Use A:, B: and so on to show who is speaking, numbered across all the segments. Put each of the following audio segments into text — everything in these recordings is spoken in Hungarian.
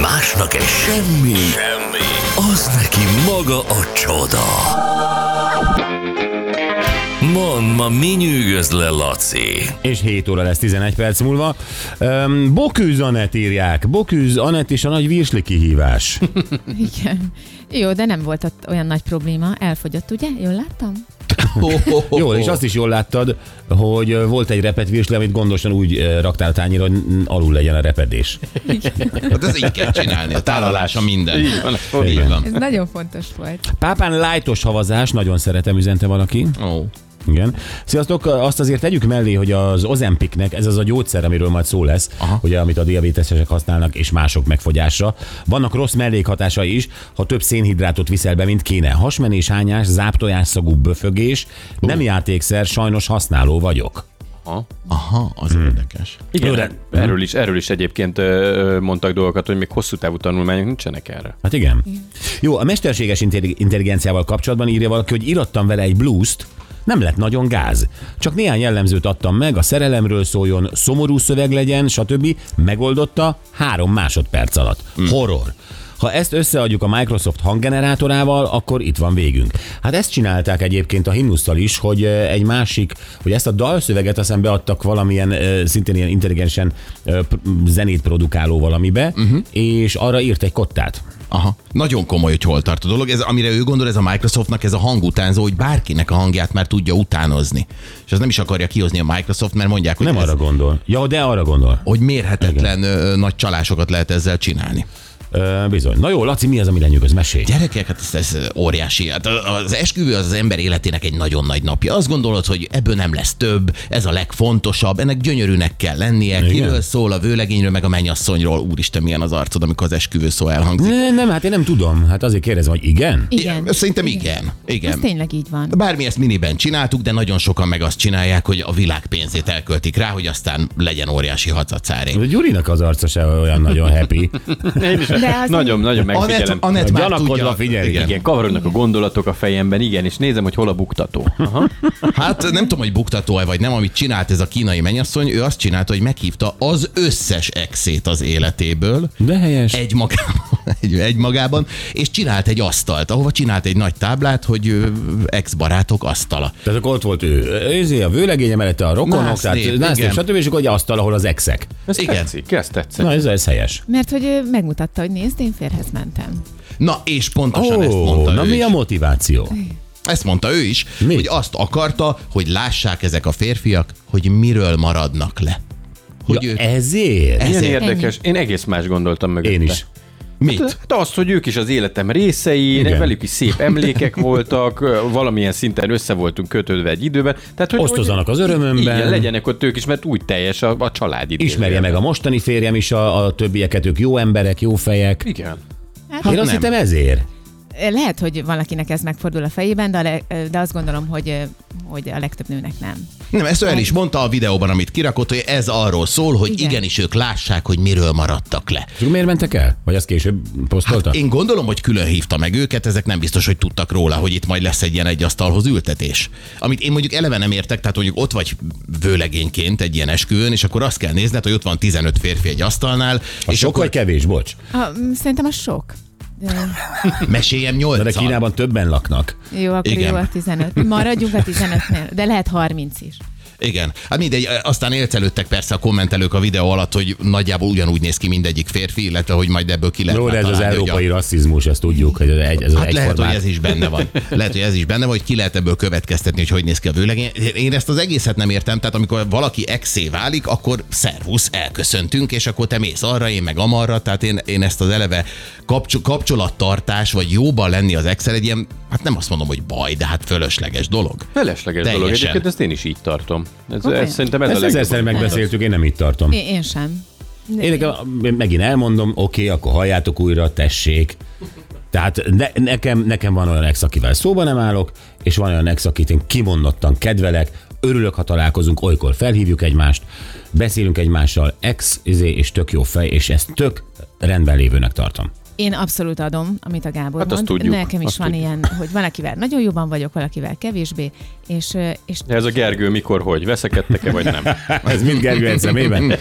A: másnak egy semmi, semmi, az neki maga a csoda. Mond, ma mi nyűgöz le, Laci?
B: és 7 óra lesz 11 perc múlva. Um, Bokűz Anett írják. Bokűz Anett és a nagy virsli kihívás.
C: Igen. Jó, de nem volt ott olyan nagy probléma. Elfogyott, ugye? Jól láttam?
D: Ho-ho-ho-ho.
B: Jó, és azt is jól láttad, hogy ö, volt egy repet virsli, amit gondosan úgy ö, raktál a tányéra, hogy n- n- alul legyen a repedés.
D: Hát ez így kell csinálni, a tálalása minden. Így van. Így van.
C: Ez nagyon fontos volt.
B: Pápán lájtos havazás, nagyon szeretem, üzente valaki.
D: Ó.
B: Igen. Sziasztok, azt azért tegyük mellé, hogy az Ozempiknek, ez az a gyógyszer, amiről majd szó lesz, Aha. ugye, amit a diabétesek használnak, és mások megfogyásra. Vannak rossz mellékhatásai is, ha több szénhidrátot viszel be, mint kéne. Hasmenés, hányás, záptojás szagú böfögés, nem játékszer, sajnos használó vagyok.
D: Aha, az érdekes.
E: Igen,
B: Jó, de-
E: erről, is, erről is egyébként ö, ö, mondtak dolgokat, hogy még hosszú távú tanulmányok nincsenek erre.
B: Hát igen. Jó, a mesterséges intelli- intelligenciával kapcsolatban írja valaki, hogy irattam vele egy blúzt, nem lett nagyon gáz. Csak néhány jellemzőt adtam meg, a szerelemről szóljon, szomorú szöveg legyen, stb. Megoldotta három másodperc alatt. Horror. Ha ezt összeadjuk a Microsoft hanggenerátorával, akkor itt van végünk. Hát ezt csinálták egyébként a himnusztal is, hogy eh, egy másik, hogy ezt a dalszöveget aztán beadtak valamilyen eh, szintén ilyen intelligensen eh, pr- zenét produkáló valamibe, uh-huh. és arra írt egy kottát.
D: Aha. Nagyon komoly, hogy hol tart a dolog. Ez, amire ő gondol, ez a Microsoftnak ez a hangutánzó, hogy bárkinek a hangját már tudja utánozni. És az nem is akarja kihozni a Microsoft, mert mondják, hogy,
B: Nem
D: ez,
B: arra gondol. Ja, de arra gondol.
D: hogy mérhetetlen ö, nagy csalásokat lehet ezzel csinálni.
B: Ö, bizony. Na jó, Laci, mi az, ami lenyűgöz? Mesélj.
D: Gyerekek, hát ez, ez óriási. Hát az esküvő az az ember életének egy nagyon nagy napja. Azt gondolod, hogy ebből nem lesz több, ez a legfontosabb, ennek gyönyörűnek kell lennie. Igen. Kiről szól a vőlegényről, meg a mennyasszonyról. Úristen, milyen az arcod, amikor az esküvő szó elhangzik.
B: Ne, nem, hát én nem tudom. Hát azért kérdezem, hogy igen?
C: Igen.
D: Szerintem igen. igen.
C: Ez tényleg így van.
D: Bármi ezt miniben csináltuk, de nagyon sokan meg azt csinálják, hogy a világ pénzét elköltik rá, hogy aztán legyen óriási hazacáré.
B: A Gyurinak az arca se olyan nagyon happy.
E: Én is
C: De az-
E: nagyon, nagyon megfigyelem.
D: Anett már tudja.
B: Gyanakodva figyel.
D: Igen.
E: Igen, kavarodnak a gondolatok a fejemben, igen, és nézem, hogy hol a buktató. Aha.
D: Hát nem tudom, hogy buktató-e vagy nem, amit csinált ez a kínai mennyasszony, ő azt csinálta, hogy meghívta az összes exét az életéből,
B: De helyes.
D: egy magában, egy, egy magában, és csinált egy asztalt, ahova csinált egy nagy táblát, hogy ö, ex-barátok asztala.
B: Tehát akkor ott volt ő, őzé, a vőlegénye mellette a rokonok,
D: Nász
B: tehát
D: nép,
B: Nászlép,
D: igen.
B: stb. És akkor egy asztal, ahol az exek.
E: Ez
D: Igen.
E: tetszik, ez tetszik.
B: Na ez, ez helyes.
C: Mert hogy ő megmutatta, hogy nézd, én férhez mentem.
D: Na, és pontosan ezt
B: Ó,
D: mondta
B: na
D: ő
B: mi
D: is.
B: a motiváció?
D: Ezt mondta ő is,
B: Mi?
D: Mi? hogy azt akarta, hogy lássák ezek a férfiak, hogy miről maradnak le. Hogy ja,
B: Ja, e-
D: ő...
B: ezért?
E: Milyen
D: ezért.
E: érdekes, én egész más gondoltam mögötte.
B: Én is.
D: Mit?
E: De azt, hogy ők is az életem részei,
B: Igen.
E: velük is szép emlékek voltak, ö, valamilyen szinten össze voltunk kötődve egy időben. Tehát, hogy,
B: Osztozzanak
E: hogy,
B: az örömömben.
E: Igen, legyenek ott ők is, mert úgy teljes a, a család idő.
B: Ismerje meg a mostani férjem is a, a többieket, ők jó emberek, jó fejek.
E: Igen.
C: Hát,
B: Én azt
D: nem.
B: hittem ezért.
C: Lehet, hogy valakinek ez megfordul a fejében, de, a le- de azt gondolom, hogy, hogy a legtöbb nőnek nem.
D: Nem, ezt ő el is mondta a videóban, amit kirakott, hogy ez arról szól, hogy
C: Igen.
D: Igen. igenis ők lássák, hogy miről maradtak le.
B: És akkor miért mentek el? Vagy azt később posztolta?
D: Hát Én gondolom, hogy külön hívta meg őket, ezek nem biztos, hogy tudtak róla, hogy itt majd lesz egy ilyen egy asztalhoz ültetés. Amit én mondjuk eleve nem értek, tehát mondjuk ott vagy vőlegényként egy ilyen esküvőn, és akkor azt kell nézned, hogy ott van 15 férfi egy asztalnál,
B: A
D: és
B: sok
D: akkor
B: vagy kevés, bocs.
C: A, m, szerintem a sok. De,
D: meséljem
B: Na, de
D: 8
B: Kínában többen laknak.
C: jó, akkor
D: Igen.
C: jó a 15. Maradjunk a 15-nél, de lehet 30 is.
D: Igen. Hát mindegy, aztán élcelődtek persze a kommentelők a videó alatt, hogy nagyjából ugyanúgy néz ki mindegyik férfi, illetve hogy majd ebből ki lehet
B: Jó, de
D: már
B: ez az
D: találni, hogy a-
B: európai rasszizmus, ezt tudjuk, hogy ez, egy, ez az
D: Hát lehet,
B: egyformák.
D: hogy ez is benne van. Lehet, hogy ez is benne van, hogy ki lehet ebből következtetni, hogy hogy néz ki a vőlegény. Én ezt az egészet nem értem, tehát amikor valaki exé válik, akkor szervusz, elköszöntünk, és akkor te mész arra, én meg amarra, tehát én, én ezt az eleve kapcsol- kapcsolattartás, vagy jóban lenni az exel egy ilyen, hát nem azt mondom, hogy baj, de hát fölösleges dolog.
E: Felesleges dolog.
D: Teljesen.
E: Egyébként ezt én is így tartom. Ez,
C: Komolyan?
E: ez szerintem ez
B: Ezt
E: a
B: ezerszer
E: legjobb.
B: megbeszéltük, én nem így tartom.
C: Én, én sem.
B: Én nekem, én megint elmondom, oké, akkor halljátok újra, tessék. Tehát ne, nekem, nekem van olyan ex, akivel szóba nem állok, és van olyan ex, akit én kimondottan kedvelek, örülök, ha találkozunk, olykor felhívjuk egymást, beszélünk egymással, ex, izé, és tök jó fej, és ezt tök rendben lévőnek tartom.
C: Én abszolút adom, amit a Gábor
E: Hát azt
C: mond.
E: tudjuk,
C: Nekem is
E: azt
C: van
E: tudjuk.
C: ilyen, hogy valakivel nagyon jóban vagyok, valakivel kevésbé, és, ö, és
E: Ez a Gergő mikor, hogy? Veszekedtek-e, vagy nem?
B: Ez mind Gergő szemében.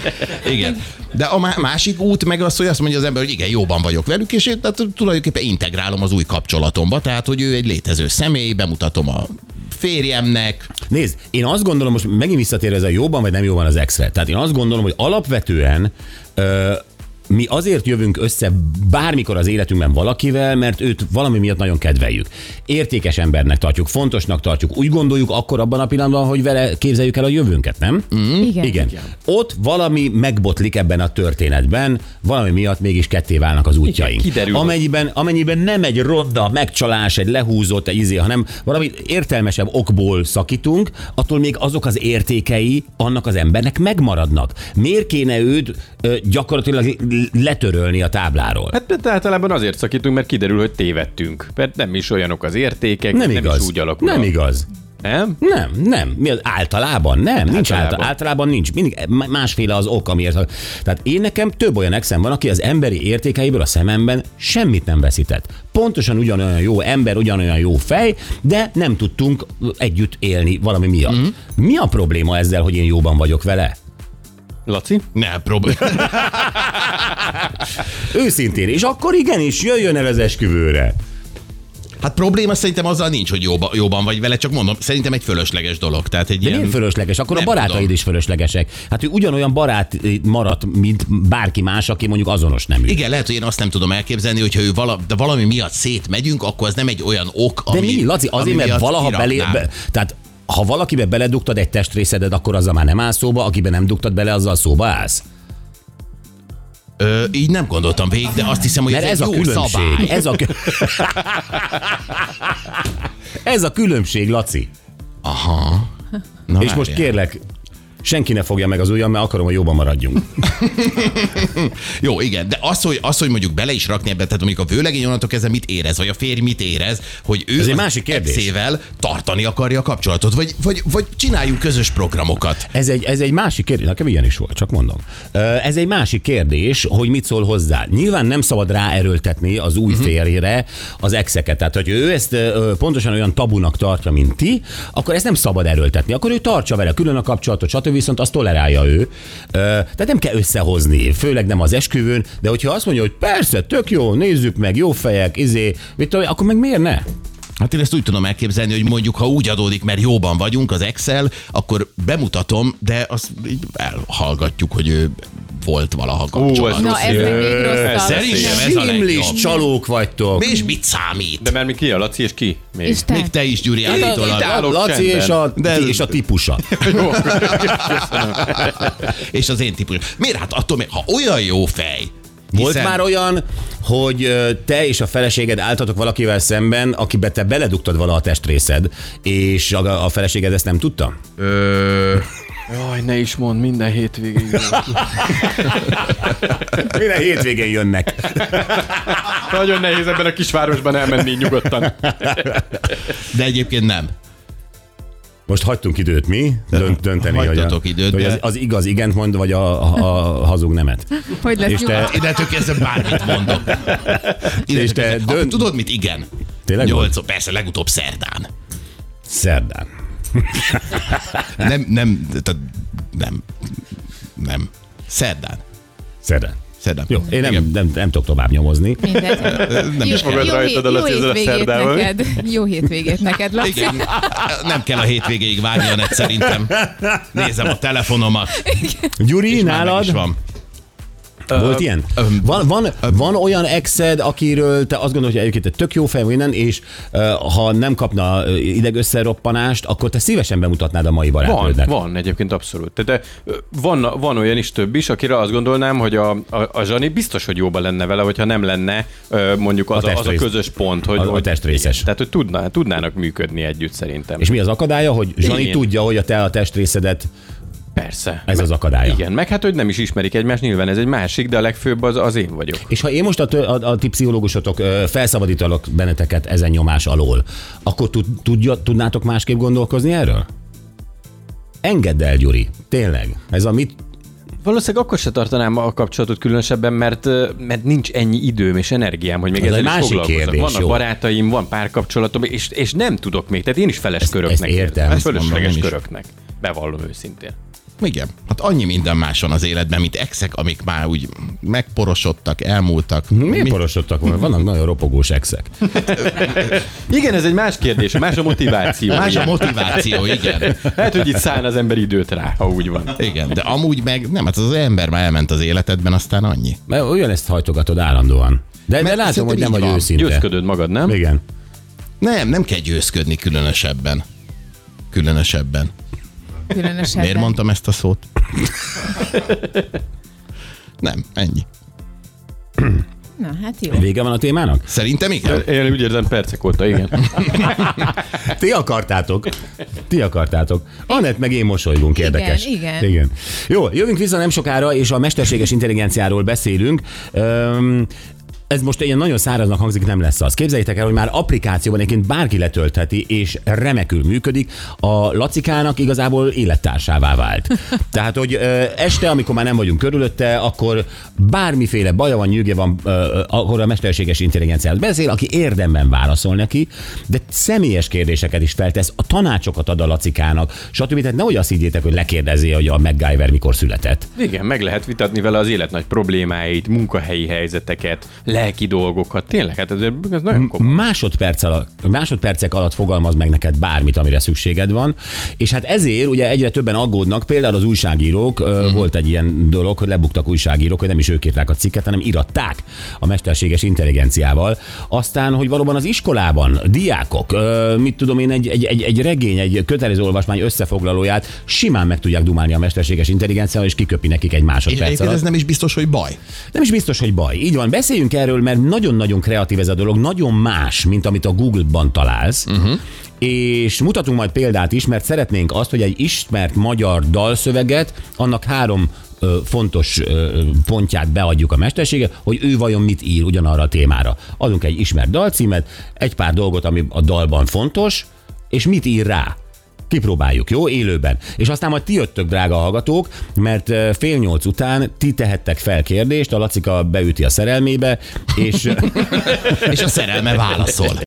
D: Igen. De a má- másik út meg az, hogy azt mondja az ember, hogy igen, jóban vagyok velük, és én tehát, tulajdonképpen integrálom az új kapcsolatomba, tehát, hogy ő egy létező személy, bemutatom a férjemnek.
B: Nézd, én azt gondolom, most megint visszatérve ez a jóban vagy nem jóban az exre. Tehát én azt gondolom, hogy alapvetően ö, mi azért jövünk össze bármikor az életünkben valakivel, mert őt valami miatt nagyon kedveljük. Értékes embernek tartjuk, fontosnak tartjuk, úgy gondoljuk akkor abban a pillanatban, hogy vele képzeljük el a jövőnket, nem? Mm.
C: igen.
B: Igen. Igen. Ott valami megbotlik ebben a történetben, valami miatt mégis ketté válnak az útjaink.
E: Igen, kiderül.
B: Amennyiben, amennyiben nem egy ronda megcsalás, egy lehúzott egy izé, hanem valami értelmesebb okból szakítunk, attól még azok az értékei annak az embernek megmaradnak. Miért kéne őt ö, gyakorlatilag letörölni a tábláról?
E: Hát de általában azért szakítunk, mert kiderül, hogy tévedtünk. Mert nem is olyanok az értékek,
B: Nem
E: nem,
B: igaz.
E: is úgy alakul.
B: nem igaz.
E: Nem?
B: Nem, nem. Mi az? Általában nem. Általában. Nincs általában.
E: Általában.
B: általában nincs. Mindig m- másféle az ok, amiért. Tehát én nekem több olyan exem van, aki az emberi értékeiből a szememben semmit nem veszített. Pontosan ugyanolyan jó ember, ugyanolyan jó fej, de nem tudtunk együtt élni valami miatt.
D: Mhm.
B: Mm. Mi a probléma ezzel, hogy én jóban vagyok vele?
E: Laci?
D: Ne, probléma.
B: Őszintén, és akkor igenis jöjjön el az esküvőre.
D: Hát probléma szerintem azzal nincs, hogy jóba, jóban vagy vele, csak mondom, szerintem egy fölösleges dolog. Tehát egy
B: De
D: ilyen...
B: miért fölösleges? Akkor
D: Nem
B: a barátaid
D: tudom.
B: is fölöslegesek. Hát ő ugyanolyan barát eh, maradt, mint bárki más, aki mondjuk azonos nemű.
D: Igen, lehet, hogy én azt nem tudom elképzelni, hogyha ő vala, de valami miatt szétmegyünk, akkor az nem egy olyan ok,
B: De
D: ami,
B: mi, Laci, azért,
D: ami
B: mert
D: miatt
B: valaha belé...
D: kiraknám.
B: Be, tehát ha valakibe beledugtad egy testrészedet, akkor azzal már nem állsz szóba, akiben nem dugtad bele, azzal szóba állsz.
D: Ö, így nem gondoltam végig, de azt hiszem, hogy
B: Mert
D: ez,
B: ez
D: egy
B: a
D: jó szabály.
B: különbség. Ez a, kö- ez a különbség, Laci.
D: Aha. Na,
B: És most
D: várjál.
B: kérlek, senki ne fogja meg az ujjam, mert akarom, hogy jobban maradjunk.
D: Jó, igen, de az, hogy, az, hogy mondjuk bele is rakni ebbe, tehát mondjuk a vőlegény onnantól kezdve mit érez, vagy a férj mit érez, hogy ő
B: Ez egy
D: az
B: másik kérdés.
D: exével tartani akarja a kapcsolatot, vagy, vagy, vagy csináljunk közös programokat.
B: Ez egy, ez egy másik kérdés, nekem ilyen is volt, csak mondom. Ö, Ez egy másik kérdés, hogy mit szól hozzá. Nyilván nem szabad ráerőltetni az új férjére az exeket. Tehát, hogy ő ezt ö, pontosan olyan tabunak tartja, mint ti, akkor ezt nem szabad erőltetni. Akkor ő tartsa vele külön a kapcsolatot, stb. viszont azt tolerálja ő. Ö, Tehát nem kell összehozni, főleg nem az esküvőn, de hogyha azt mondja, hogy persze, tök jó, nézzük meg, jó fejek, izé, mit tudom, én, akkor meg miért ne?
D: Hát én ezt úgy tudom elképzelni, hogy mondjuk, ha úgy adódik, mert jóban vagyunk az Excel, akkor bemutatom, de azt így elhallgatjuk, hogy ő volt valaha kapcsolat.
E: ez-
C: Na, ez meg még
E: Ö,
C: rosszabb.
D: szerintem
E: Ez
D: ez a
B: Simlis
D: legjobb.
B: csalók vagytok.
D: És mit számít?
E: De mert mi ki a Laci és ki? Még.
C: És te?
D: Még te is, Gyuri, állítólag.
E: itt áll- állok
B: Hát Laci
E: csendben.
B: és a,
D: De-
B: ti- és a típusa.
D: És az én típus. Miért? Hát attól még, ha olyan jó fej,
B: Volt
D: hiszen-
B: már olyan, hogy ö, te és a feleséged álltatok valakivel szemben, akibe te beledugtad vala a testrészed, és a, a feleséged ezt nem tudta?
D: Ö,
E: Jaj, ne is mond minden hétvégén.
B: Minden hétvégén jönnek.
E: Nagyon nehéz ebben a kisvárosban elmenni nyugodtan.
D: de egyébként nem.
B: Most hagytunk időt mi Dönt, dönteni, hogy, a,
D: Hagytatok időt,
B: hogy
D: de-
B: az, az igaz igent mond, vagy a, a, a hazug nemet.
C: hogy lesz
B: És te,
C: nyugodt?
D: Innentől kezdve hát bármit mondok.
B: És te
D: Innentől
B: dönt-
D: dönt... Tudod mit? Igen.
B: Tényleg
D: Nyolc, persze, legutóbb szerdán.
B: szerdán.
D: Nem, nem, tehát nem, nem. Szerdán.
B: Szerdán.
D: Szerdán.
B: Jó, én nem, nem, nem tudok tovább nyomozni.
C: Mindegy.
D: Nem
C: Jó,
D: is kell.
E: magad
C: jó, hét,
E: rajtad a
C: jó
E: Laci ezzel a
C: hétvégét
E: szerdával.
C: neked. Jó hétvégét neked, Laci.
D: Igen. Nem kell a hétvégéig várni a net szerintem. Nézem a telefonomat.
B: Gyuri,
D: És már meg is
B: nálad
D: van.
B: volt ilyen? Van, van, van olyan exed, akiről te azt gondolod, hogy egyébként egy tök jó fej vagy innen, és ö, ha nem kapna ö, ideg összeroppanást, akkor te szívesen bemutatnád a mai
E: Van,
B: barátnődnek.
E: van egyébként abszolút. Tehát ö, van, van olyan is több is, akire azt gondolnám, hogy a, a, a Zsani biztos, hogy jóba lenne vele, hogyha nem lenne ö, mondjuk az
B: A
E: a, az a
B: testrész.
E: közös pont, hogy
B: A- a
E: hogy-
B: testrészes.
E: Igen, Tehát, hogy tudná, tudnának működni együtt szerintem.
B: És mi az akadálya, hogy Zsani
E: Igen.
B: tudja, hogy a te a testrészedet,
E: persze.
B: ez az akadálya.
E: Igen, meg hát, hogy nem is ismerik egymást, nyilván ez egy másik, de a legfőbb az, az én vagyok.
B: És ha én most a, tő- a, a ti pszichológusotok ö, felszabadítalak benneteket ezen nyomás alól, akkor tud, tudja, tudnátok másképp gondolkozni erről? Engedd el, Gyuri. Tényleg. Ez a mit
E: valószínűleg akkor se tartanám a kapcsolatot különösebben, mert, ö, mert nincs ennyi időm és energiám, hogy még
B: Ez egy
E: ezzel is
B: másik
E: foglalkozzak.
B: kérdés,
E: Vannak
B: jó.
E: barátaim, van párkapcsolatom, és, és nem tudok még. Tehát én is feles köröknek.
B: ezt értem,
E: érzem,
B: ezt
D: mondom
E: Fölösleges
D: én is.
E: köröknek. Bevallom őszintén.
D: Igen, hát annyi minden más van az életben, mint exek, amik már úgy megporosodtak, elmúltak.
B: Miért
D: Mi-
B: porosodtak volna? Vannak nagyon ropogós exek.
E: Igen, ez egy más kérdés, más a motiváció.
D: Más a
E: Igen.
D: motiváció, igen.
E: Lehet, hogy itt szán az ember időt rá, ha úgy van.
D: Igen, de amúgy meg nem, hát az ember már elment az életedben, aztán annyi.
B: Mert olyan ezt hajtogatod állandóan. De, de
D: Mert
B: látom, hogy
D: szerintem
B: nem
D: így
B: vagy
D: van.
B: őszinte.
E: Győzködöd magad, nem?
B: Igen.
D: Nem, nem kell győzködni különösebben. Különösebben.
C: Különösebben.
D: Miért mondtam ezt a szót? nem, ennyi.
C: Na, hát jó.
B: Vége van a témának?
D: Szerintem igen.
E: Én úgy érzem percek óta, igen.
B: Ti akartátok. Ti akartátok. Anett meg én mosolygunk, érdekes.
C: igen.
B: igen. Jó, jövünk vissza nem sokára, és a mesterséges intelligenciáról beszélünk. Öm, ez most ilyen nagyon száraznak hangzik, nem lesz az. Képzeljétek el, hogy már applikációban egyébként bárki letöltheti, és remekül működik. A Lacikának igazából élettársává vált. Tehát, hogy ö, este, amikor már nem vagyunk körülötte, akkor bármiféle baja van, nyűgje van, ö, ö, akkor a mesterséges intelligenciához beszél, aki érdemben válaszol neki, de személyes kérdéseket is feltesz, a tanácsokat ad a Lacikának, stb. Tehát nehogy azt higgyétek, hogy lekérdezi, hogy a MacGyver mikor született.
E: Igen, meg lehet vitatni vele az élet nagy problémáit, munkahelyi helyzeteket, lelki dolgokat. Tényleg, hát ez, ez
B: Mm.
E: nagyon komoly.
B: másodperc alatt, másodpercek alatt fogalmaz meg neked bármit, amire szükséged van. És hát ezért ugye egyre többen aggódnak, például az újságírók,
D: Mhm.
B: uh-huh. volt egy ilyen dolog, hogy lebuktak újságírók, hogy nem is ők írták a cikket, hanem iratták a mesterséges intelligenciával. Aztán, hogy valóban az iskolában diákok, ö, mit tudom én, egy, egy, egy, egy regény, egy kötelező olvasmány összefoglalóját simán meg tudják dumálni a mesterséges intelligenciával, és kiköpi nekik egy
D: És
B: másodperc
D: egyébként
B: alatt.
D: ez nem is biztos, hogy baj.
B: Nem is biztos, hogy baj. Így van, beszéljünk erről, mert nagyon-nagyon kreatív ez a dolog, nagyon más, mint amit a Google-ban találsz. Uh-huh. És mutatunk majd példát is, mert szeretnénk azt, hogy egy ismert magyar dalszöveget, annak három ö, fontos ö, pontját beadjuk a mestersége, hogy ő vajon mit ír ugyanarra a témára. Adunk egy ismert dalcímet, egy pár dolgot, ami a dalban fontos, és mit ír rá. Kipróbáljuk, jó? Élőben. És aztán majd ti jöttök, drága hallgatók, mert ö, fél nyolc után ti tehettek fel kérdést, a Lacika beüti a szerelmébe, és
D: És a szerelme válaszol.